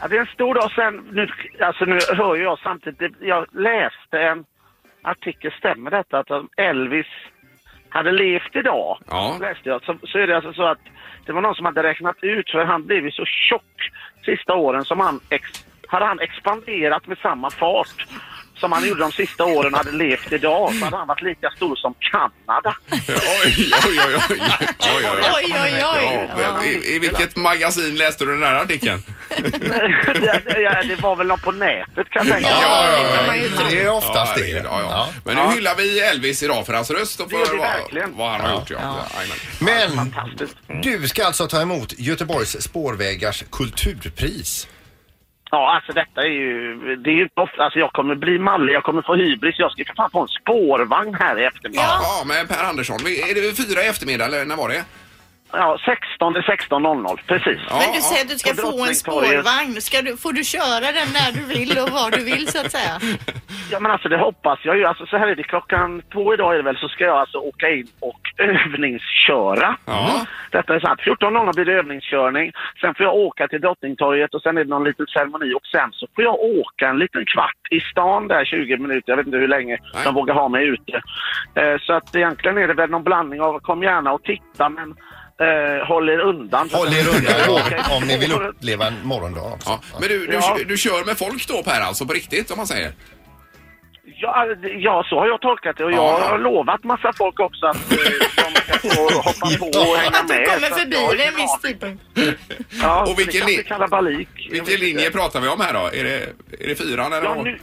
Speaker 11: Ja, det är en stor dag sen, nu, alltså nu hör ju jag samtidigt, det- jag läste en artikel, stämmer detta att om Elvis hade levt idag?
Speaker 1: Ja.
Speaker 11: Läste jag, så, så är det alltså så att det var någon som hade räknat ut för han blev ju så tjock sista åren som han, ex, hade han expanderat med samma fart som han gjorde de sista åren och hade levt idag så hade han varit lika stor som Kanada.
Speaker 1: Oj, oj, oj, oj. Oj,
Speaker 2: Oj, oj, oj.
Speaker 1: Ja, i, I vilket magasin läste du den här artikeln?
Speaker 11: det, det, det var väl någon på nätet kan jag tänka mig.
Speaker 3: Det är
Speaker 1: oftast det. Ja, ja. Men nu hyllar vi Elvis idag för hans röst och för vad, vad han har gjort. Ja. Ja. jajamän.
Speaker 3: Men du ska alltså ta emot Göteborgs spårvägars kulturpris.
Speaker 11: Ja, alltså detta är ju... Det är ju inte ofta, alltså jag kommer bli mallig, jag kommer få hybris. Jag ska för fan få en spårvagn här i eftermiddag.
Speaker 1: Ja. men Per Andersson, vi- är det vid fyra i eftermiddag eller när var det?
Speaker 11: Ja, 16 till 16.00, precis.
Speaker 2: Men du säger att du ska
Speaker 11: På
Speaker 2: få en
Speaker 11: Drottningtorget.
Speaker 2: spårvagn. Ska du, får du köra den när du vill och var du vill så att säga?
Speaker 11: Ja, men alltså det hoppas jag ju. Alltså så här är det, klockan två idag är det väl, så ska jag alltså åka in och övningsköra.
Speaker 1: Ja.
Speaker 11: Detta är sant. 14.00 blir det övningskörning. Sen får jag åka till Drottningtorget och sen är det någon liten ceremoni och sen så får jag åka en liten kvart i stan där 20 minuter. Jag vet inte hur länge de vågar ha mig ute. Eh, så att egentligen är det väl någon blandning av kom gärna och titta men eh, håll er undan.
Speaker 3: Håll er undan
Speaker 11: Okej.
Speaker 3: då, om ni vill uppleva en morgondag. också.
Speaker 1: Ja. Men du, du,
Speaker 11: Ja.
Speaker 1: du kör med folk då Per, alltså på riktigt om man säger?
Speaker 11: Ja, alltså, ja, så har jag tolkat det och jag har lovat massa folk också att eh, de ska få hoppa på och hänga
Speaker 2: Att
Speaker 11: med.
Speaker 2: du kommer
Speaker 11: Så att
Speaker 2: förbi
Speaker 11: jag har
Speaker 2: vid en
Speaker 11: ingen
Speaker 2: viss tidpunkt.
Speaker 11: Ja,
Speaker 1: Och vilken
Speaker 11: det kanske
Speaker 1: li-
Speaker 11: kalabalik.
Speaker 1: Vilken linje pratar vi om här då? Är det, är det fyran eller?
Speaker 11: Ja,
Speaker 1: vad?
Speaker 11: nu,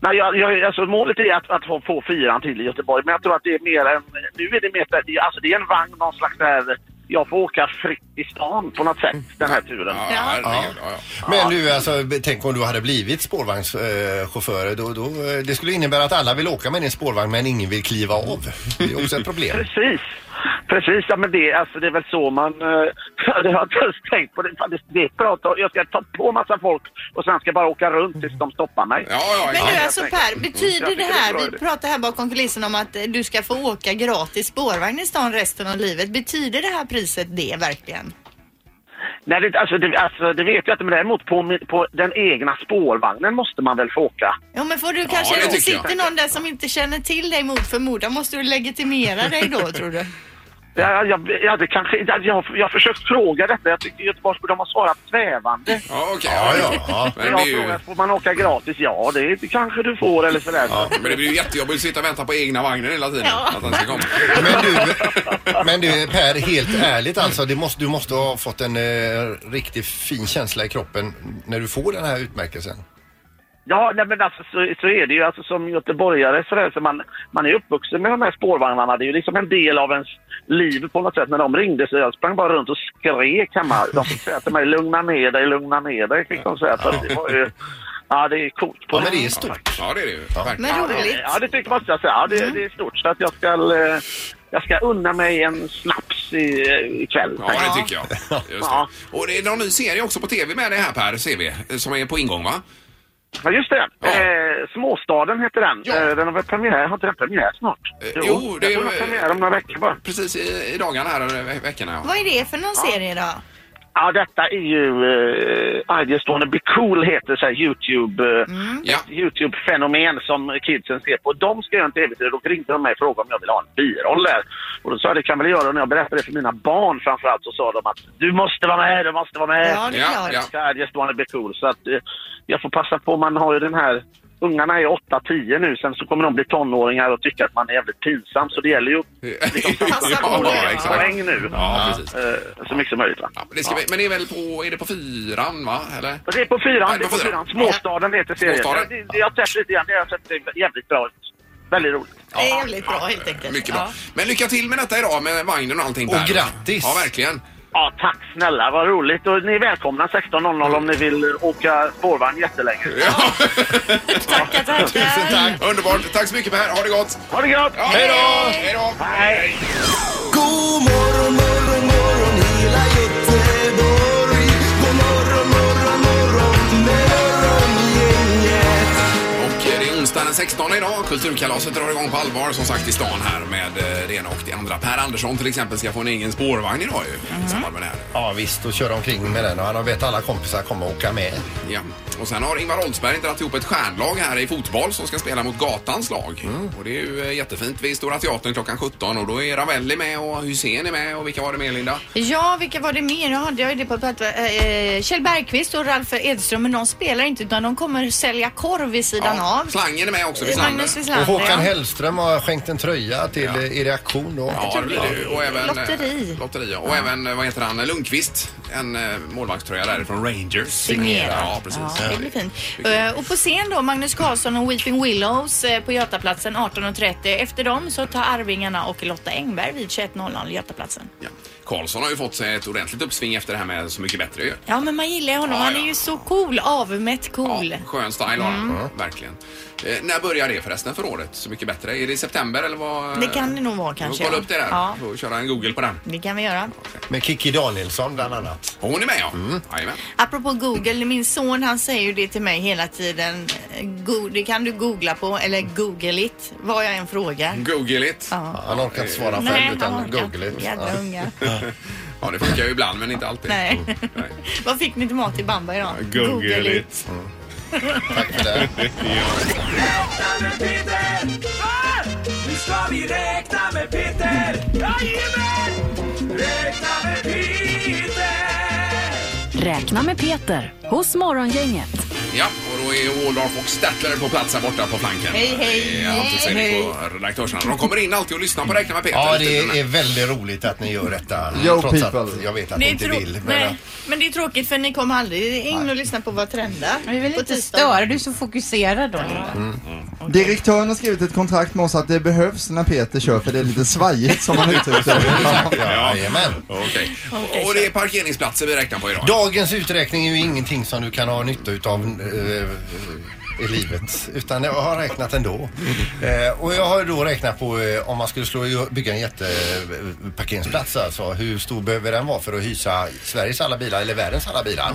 Speaker 11: nej, jag, jag, alltså, målet är att, att få- få fyran till i Göteborg, men jag tror att det är mer en... Nu är det mer... det är- Alltså, det är en vagn, någon slags där... Jag får åka fritt i stan på något sätt, den här turen.
Speaker 1: herregud, ja,
Speaker 3: Men du, alltså, tänk om du hade blivit spårvagnschaufför. Då, då, eh, det skulle innebära att alla vill åka med din spårvagn men ingen vill kliva av. Det är också ett problem.
Speaker 11: Precis. Precis, ja, men det, alltså, det är väl så man... eh, det har jag inte ens tänkt på. Det, Fan, det, det är bra att ta- jag ska ta på massa folk och sen ska jag bara åka runt tills de stoppar
Speaker 1: Mm.
Speaker 11: mig.
Speaker 2: Men du alltså
Speaker 11: Jag tänker-
Speaker 2: Per,
Speaker 11: Jag
Speaker 2: betyder
Speaker 11: tycker
Speaker 2: det
Speaker 11: är
Speaker 2: här,
Speaker 11: bra
Speaker 2: vi
Speaker 11: idé.
Speaker 2: pratar här bakom kulisserna om att eh, du ska få åka gratis spårvagn i stan resten av livet. Betyder det här priset det verkligen?
Speaker 11: Nej, det, alltså, det, alltså, det vet jag inte, men däremot på, min- på den egna spårvagnen måste man väl få åka.
Speaker 2: Ja men får du
Speaker 11: det
Speaker 2: kanske,
Speaker 11: tycker
Speaker 2: sitter någon där som inte känner till dig mot förmodan, måste du legitimera dig då tror du?
Speaker 11: Ja, jag, ja, det kanske, ja, jag, jag har försökt fråga detta. Jag tyckte Göteborgs de har svarat svävande.
Speaker 1: Ja, okej.
Speaker 3: Ja, ja.
Speaker 11: Men jag har frågat, får man åka gratis? Ja, det är- det kanske du får eller sådär.
Speaker 1: Ja, men det blir ju jättejobbigt att sitta och vänta på egna vagnen hela tiden. Att den ska komma.
Speaker 3: Men du Per, helt ärligt alltså, det måste, du måste ha fått en eh, riktigt fin känsla i kroppen när du får den här utmärkelsen.
Speaker 11: Ja, nej, men alltså, så, så är det ju. Alltså, som göteborgare så, där, så man, man är uppvuxen med de här spårvagnarna. Det är ju liksom en del av ens liv på något sätt. När de ringde så jag sprang bara runt och skrek hemma. De fick säga till mig, lugna ner dig, lugna ner dig, fick de säga. Så att det var ju, ja, det är coolt. På
Speaker 3: Ja, men det är stort.
Speaker 1: Ja, det är det ju.
Speaker 2: Men roligt.
Speaker 11: Ja, det tycker måste jag säga. Ja, det, det är stort. Så att jag ska, eh, jag ska unna mig en snaps i, eh, i kväll.
Speaker 1: Ja, det tycker jag. Just det. Och det är någon ny serie också på tv med det här Per, ser vi, som är på ingång va?
Speaker 11: Ja, just det. Eh, Småstaden heter den. Eh, den har väl premiär? Har inte den premiär snart?
Speaker 1: Eh, jo, det
Speaker 11: jag
Speaker 1: är-
Speaker 11: tror den har premiär om några veckor bara.
Speaker 1: Precis i, i dagarna här, eller ve- eh, veckorna ja. Eh,
Speaker 2: Vad är det för någon serie då?
Speaker 11: Ja, detta är ju... Uh, I just wanna be cool heter så här YouTube, eh,
Speaker 1: Mm.
Speaker 11: ett YouTube-fenomen som kidsen ser på. De ska göra en tv-serie. Då ringde de mig och frågade om jag ville ha en biroll där. Och då sa jag det kan väl göra. Och när jag berättade det för mina barn framförallt så sa de att du måste vara med, du måste vara med.
Speaker 12: Ja, det är Ja, klart.
Speaker 11: Så I just wanna be cool. Så att eh, jag får passa på. Man har ju den här... Ungarna är 8-10 nu, sen så kommer de bli tonåringar och tycka att man är jävligt pinsam. Så det gäller ju att liksom, passa på
Speaker 1: Ja,
Speaker 11: det.
Speaker 1: exakt.
Speaker 11: poäng nu.
Speaker 1: Ja,
Speaker 11: Eh, Så mycket som möjligt. Va?
Speaker 1: Det ska vi, men det är väl på, är det på fyran va? Eller?
Speaker 11: Det är på fyran.
Speaker 1: Nej,
Speaker 11: det är på fyran. Småstaden heter serien.
Speaker 1: Småstaden.
Speaker 11: Det- det- Jag har sett lite grann. Det har jag sett det är jävligt bra ut. Väldigt roligt.
Speaker 2: Det är jävligt bra helt enkelt.
Speaker 1: Mycket bra. Men lycka till med detta idag med vagnen och allting
Speaker 11: Och
Speaker 1: Per.
Speaker 11: grattis.
Speaker 1: Ja, verkligen.
Speaker 11: Ja, tack snälla. Vad roligt. Och ni är välkomna 16.00 om ni vill eh, åka spårvagn jättelänge.
Speaker 2: tackar, tackar. Tusen
Speaker 1: tack. Underbart. Tack så mycket Per. Ha det gott.
Speaker 11: Ha det gott.
Speaker 1: Ja, hej då. Hej då. Hej.
Speaker 12: God morgon, morgon, morgon hela Göteborg. God morgon, morgon, morgon, morgongänget.
Speaker 1: Och eh, det är onsdag den 16 idag. Kulturkalaset drar igång på allvar som sagt i stan här med eh, det ena och det andra. Per Andersson till exempel ska få en egen spårvagn idag ju.
Speaker 2: Mhm.
Speaker 1: i samband med det här.
Speaker 3: Ja visst, och köra omkring med den och han har bett alla kompisar komma och åka med.
Speaker 1: Ja. Och sen har Ingvar Oldsberg dragit ihop ett stjärnlag här i fotboll som ska spela mot Gatans lag.
Speaker 2: Mm.
Speaker 1: Och det är ju eh, jättefint vid Stora Teatern klockan 17 och då är Ravelli med och Hussein är med och vilka var det med Linda?
Speaker 2: Ja, vilka var det mer? Nu hade jag ju det på att eh, Kjell Bergqvist och Ralf Edström, men de spelar inte utan de kommer sälja korv vid sidan av.
Speaker 1: Slangen är med också.
Speaker 2: Vid Magnus
Speaker 3: Och
Speaker 2: Wislander.
Speaker 3: Håkan
Speaker 2: ja.
Speaker 3: Hellström har skänkt en tröja till ja. i reaktion då.
Speaker 1: Ja, det blir det ju. Och även, eh,
Speaker 2: Lotteri.
Speaker 1: Lotteri, ja. Och även, eh, vad heter han, Lundqvist. En eh, målvaktströja därifrån Rangers.
Speaker 2: Signerad.
Speaker 1: Ja, precis.
Speaker 2: Ja, det blir fint. Eh, och på scen då, Magnus Karlsson och Weeping Willows eh, på Götaplatsen 18.30. Efter dem så tar Arvingarna och Lotta Engberg vid 21.00 Götaplatsen.
Speaker 1: Karlsson har ju fått sig ett ordentligt uppsving efter det här med Så mycket bättre ju.
Speaker 2: Ja, men man gillar ju honom. Han är ju så cool. Avmätt cool.
Speaker 1: Skön style har han,
Speaker 2: Mm.
Speaker 1: verkligen. Eh, när börjar det förresten för året? Så mycket bättre. Är det i september eller vad?
Speaker 2: Det kan det nog vara
Speaker 1: Får
Speaker 2: kanske.
Speaker 1: kolla
Speaker 2: ja.
Speaker 1: upp det där.
Speaker 2: Ja,
Speaker 1: Får köra en Google på den.
Speaker 2: det kan vi göra.
Speaker 3: Med Kikki Danielsson bland annat.
Speaker 1: Hon är med ja.
Speaker 2: Mm.
Speaker 1: Jajamän.
Speaker 2: Apropå Google, min son han säger ju det till mig hela tiden. Eh, Go- det kan du googla på, eller google it, vad jag än frågar.
Speaker 3: Mm.
Speaker 1: Google it.
Speaker 3: Han orkar inte svara
Speaker 2: Nej,
Speaker 3: själv
Speaker 2: han
Speaker 3: utan
Speaker 2: orkar
Speaker 3: googla
Speaker 2: inte.
Speaker 3: it.
Speaker 2: Jävla
Speaker 3: Ja.
Speaker 2: unga.
Speaker 1: Ja, det funkar ju ibland men inte alltid.
Speaker 2: Nej. vad fick ni till mat i Bamba idag?
Speaker 1: it. Mm.
Speaker 3: Tack för det.
Speaker 12: Nu ska vi räkna med Peter! Jajamän! Räkna med Peter!
Speaker 4: Räkna med Peter hos Morgongänget.
Speaker 1: Ja, och då är Waldorf och Statler på plats här borta på flanken.
Speaker 4: Hej, hej.
Speaker 1: Det är alltid så
Speaker 4: Hej,
Speaker 1: inne på redaktörsarna. De kommer in alltid och lyssnar på Räkna med Peter.
Speaker 3: Ja,
Speaker 1: lite
Speaker 3: det
Speaker 1: grann.
Speaker 3: är väldigt roligt att ni gör detta.
Speaker 1: Yo,
Speaker 3: trots att
Speaker 1: people.
Speaker 3: jag vet att
Speaker 2: Det
Speaker 3: ni
Speaker 2: är
Speaker 3: inte
Speaker 2: trå-
Speaker 3: vill. Men,
Speaker 2: Nej, men det är tråkigt för ni kommer aldrig in och lyssnar på vad trendar. Vi vill inte
Speaker 6: störa, du är så fokuserad då.
Speaker 9: Direktören har skrivit ett kontrakt med oss att det behövs när Peter kör för det är lite svajigt som han uttryckte det.
Speaker 3: Jajamän.
Speaker 1: Okej. Och det är parkeringsplatser vi räknar på idag.
Speaker 3: Dagens uträkning är ju ingenting som du kan ha nytta utav eh, i livet. Utan jag har räknat ändå. Eh, och jag har ju då räknat på eh, om man skulle slå, bygga en jätteparkeringsplats alltså. Hur stor behöver den vara för att hysa Sveriges alla bilar eller världens alla bilar?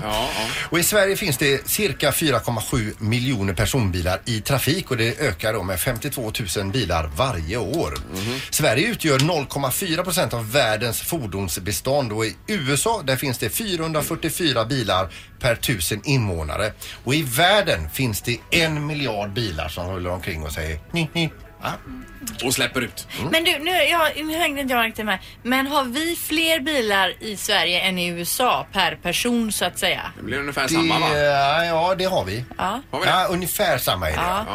Speaker 3: Och i Sverige finns det cirka 4,7 miljoner personbilar i trafik och det ökar då med 52 000 bilar varje år.
Speaker 1: Mhm.
Speaker 3: Sverige utgör 0,4 procent av världens fordonsbestånd och i USA där finns det 444 bilar per tusen invånare. Och i världen finns det en miljard bilar som rullar omkring och säger ni, ni. Ja.
Speaker 1: Och släpper ut.
Speaker 3: Mm.
Speaker 2: Men du, nu, jag, nu hängde inte jag riktigt med. Men har vi fler bilar i Sverige än i USA per person så att säga?
Speaker 1: Det blir ungefär
Speaker 3: Det-
Speaker 1: samma va?
Speaker 3: Ja, det har vi.
Speaker 2: Ja.
Speaker 3: Ja, ungefär samma är det.
Speaker 2: Ja.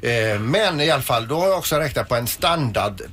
Speaker 3: Ja. Eh, Men i alla fall, då har jag också räknat på en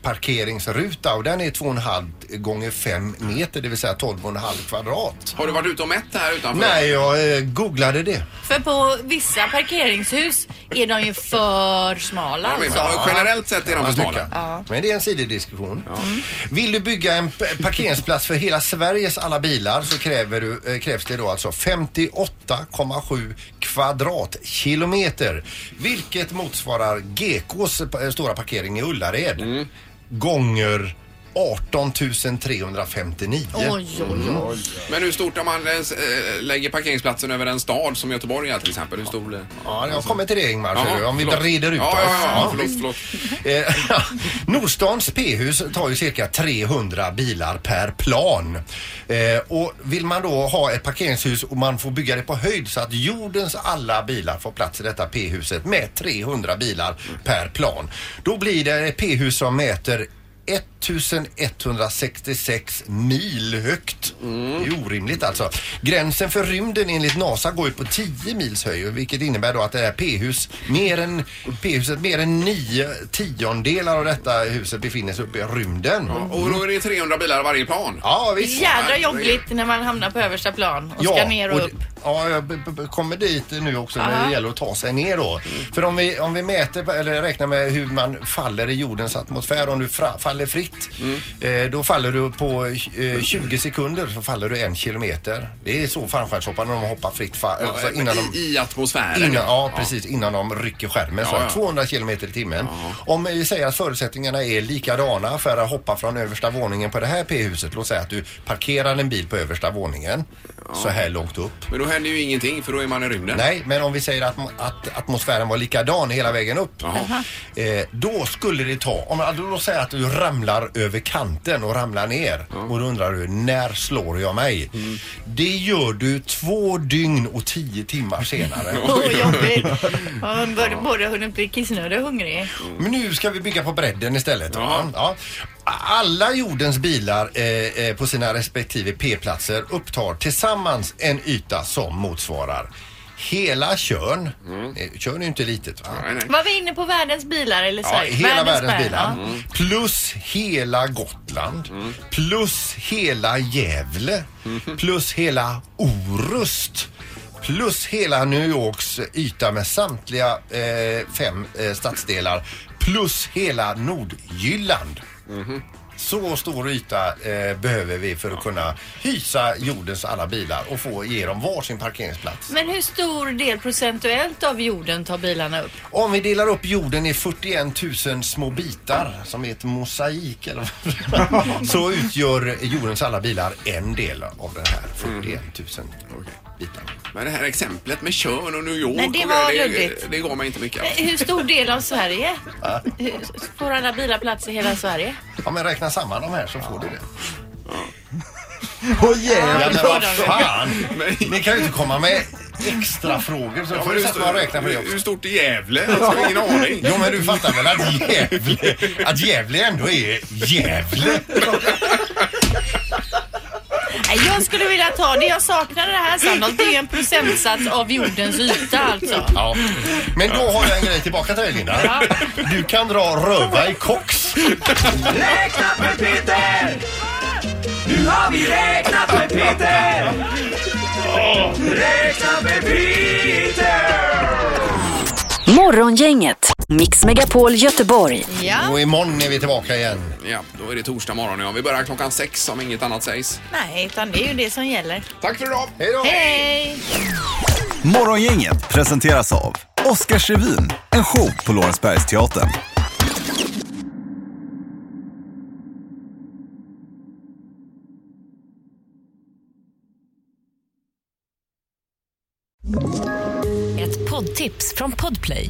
Speaker 3: standardparkeringsruta och den är 2,5 gånger 5 meter, det vill säga 12,5 kvadrat.
Speaker 1: Har du varit ute och mätt här utanför?
Speaker 3: Nej, jag eh, googlade det.
Speaker 2: För på vissa parkeringshus är de ju för smala alltså.
Speaker 1: generellt sett är de
Speaker 3: kan
Speaker 1: för
Speaker 3: man
Speaker 1: smala.
Speaker 3: tycka. Men det är en sidodiskussion. Mm. Vill du bygga en p- parkeringsplats för hela Sveriges alla bilar så kräver du, eh, krävs det då alltså 58,7 kvadratkilometer.
Speaker 1: Mm.
Speaker 3: Vilket motsvarar GKs p- eh, stora parkering i Ullared. Gånger 18 359. Mm.
Speaker 1: Men hur stort om man eh, lägger parkeringsplatsen över en stad som Göteborg är till exempel? Hur stor blir
Speaker 3: Ja, jag kommer till det Ingmar,
Speaker 1: Ja,
Speaker 3: ser du, om vi
Speaker 1: förlåt.
Speaker 3: reder ut
Speaker 1: Ja,
Speaker 3: oss.
Speaker 1: ja, ja,
Speaker 3: Ja.
Speaker 1: förlåt, förlåt.
Speaker 3: Eh, Nordstans p-hus tar ju cirka 300 bilar per plan. Eh, och vill man då ha ett parkeringshus och man får bygga det på höjd så att jordens alla bilar får plats i detta p-huset med 300 bilar per plan. Då blir det ett p-hus som mäter 1166 mil högt. Det är orimligt alltså. Gränsen för rymden enligt NASA går ju på 10 mils höjd vilket innebär då att det här P-hus, mer än P-huset, mer än 9 tiondelar av detta huset befinner sig uppe i rymden.
Speaker 1: Och då är det 300 bilar varje plan?
Speaker 3: Ja, visst.
Speaker 2: Jädra jobbigt när man hamnar på översta plan och ska ner och,
Speaker 3: och
Speaker 2: upp.
Speaker 3: d- Ja, jag b- b- kommer dit nu också när
Speaker 2: Aha.
Speaker 3: det gäller att ta sig ner då. För om vi, om vi mäter på- eller räknar med hur man faller i jordens atmosfär, om du fra, faller fritt,
Speaker 2: Mm.
Speaker 3: eh, då faller du på eh, 20 sekunder så faller du en kilometer. Det är så fallskärmshopparna de hoppar fritt fa-
Speaker 1: Ja,
Speaker 3: alltså
Speaker 1: men
Speaker 3: innan de...
Speaker 1: i, I atmosfären?
Speaker 3: Innan, ja, precis. Innan de rycker skärmen. så
Speaker 1: Ja,
Speaker 3: här,
Speaker 1: ja.
Speaker 3: 200 km i timmen. Om vi säger att förutsättningarna är likadana för att hoppa från översta våningen på det här p-huset. Låt säga att du parkerar en bil på översta våningen. Så här långt upp.
Speaker 1: Men då händer ju ingenting för då är man i rymden.
Speaker 3: Nej, men om vi säger att, att atmosfären var likadan hela vägen upp. Eh, då skulle det ta, om man då säger att du ramlar över kanten och ramlar ner och då undrar du när slår jag mig?
Speaker 1: Mm.
Speaker 3: Det gör du två dygn och tio timmar senare.
Speaker 2: Åh, jobbigt. Ja, Man borde, borde hunnit bli kissnödig och hungrig.
Speaker 3: Mm. Men nu ska vi bygga på bredden istället. va? Ja. Alla jordens bilar eh, eh, på sina respektive p-platser upptar tillsammans en yta som motsvarar hela Tjörn. Eh, Tjörn är ju inte litet va?
Speaker 2: Var vi inne på världens bilar eller så?
Speaker 3: Ja, hela världens
Speaker 2: värld,
Speaker 3: bilar. Mm.
Speaker 2: ja. Mm.
Speaker 3: Plus hela Gotland. Plus hela Gävle. Plus hela Orust. Plus hela New Yorks yta med samtliga eh, fem eh, stadsdelar. Plus hela Nordjylland.
Speaker 2: Mm-hmm.
Speaker 3: Så stor yta eh, behöver vi för att kunna hysa jordens alla bilar och få ge dem varsin parkeringsplats.
Speaker 2: Men hur stor del procentuellt av jorden tar bilarna upp?
Speaker 3: Om vi delar upp jorden i 41 000 små bitar som är ett mosaik eller vad- så utgör jordens alla bilar en del av den här 41 000 bitarna.
Speaker 1: Men det här exemplet med Tjörn och New York.
Speaker 2: Nej, det
Speaker 1: och
Speaker 2: var
Speaker 1: det,
Speaker 2: luddigt.
Speaker 1: det gav mig inte mycket.
Speaker 2: Eh, Hur stor del av Sverige? Hur- Får alla bilar plats i hela Sverige?
Speaker 3: Ja men räkna samman de här så får du det.
Speaker 9: Åh jävlar!
Speaker 3: Ja, men vad fan! Ni kan ju inte komma med extra frågor så
Speaker 1: Ja,
Speaker 3: får
Speaker 1: men
Speaker 3: du
Speaker 1: hur
Speaker 3: sätta och räkna på det
Speaker 1: stor-
Speaker 3: också.
Speaker 1: Hur stort är Gävle? Jag har ingen aning.
Speaker 3: Jo men du fattar väl att Gävle, att Gävle ändå är Gävle?
Speaker 2: Nej, jag skulle vilja ta det. Jag saknar det här Sandholt. Det är en procentsats av jordens yta alltså.
Speaker 3: Ja. Men då har jag en grej tillbaka till dig Linda. Du kan dra röva i kox.
Speaker 12: Räkna med Peter! Nu har vi räknat med Peter! Räkna med Peter!
Speaker 4: Morgongänget, Mix Megapol Göteborg.
Speaker 3: Och imorgon är vi tillbaka igen.
Speaker 1: Ja, då är det torsdag morgon. Ja. Vi börjar klockan sex om inget annat sägs.
Speaker 2: Nej, utan det är ju det som gäller.
Speaker 1: Tack för idag.
Speaker 3: Hej då.
Speaker 2: Hej!
Speaker 13: Morgongänget presenteras av Oscarsrevyn, en show på Lorensbergsteatern.
Speaker 4: Ett poddtips från Podplay.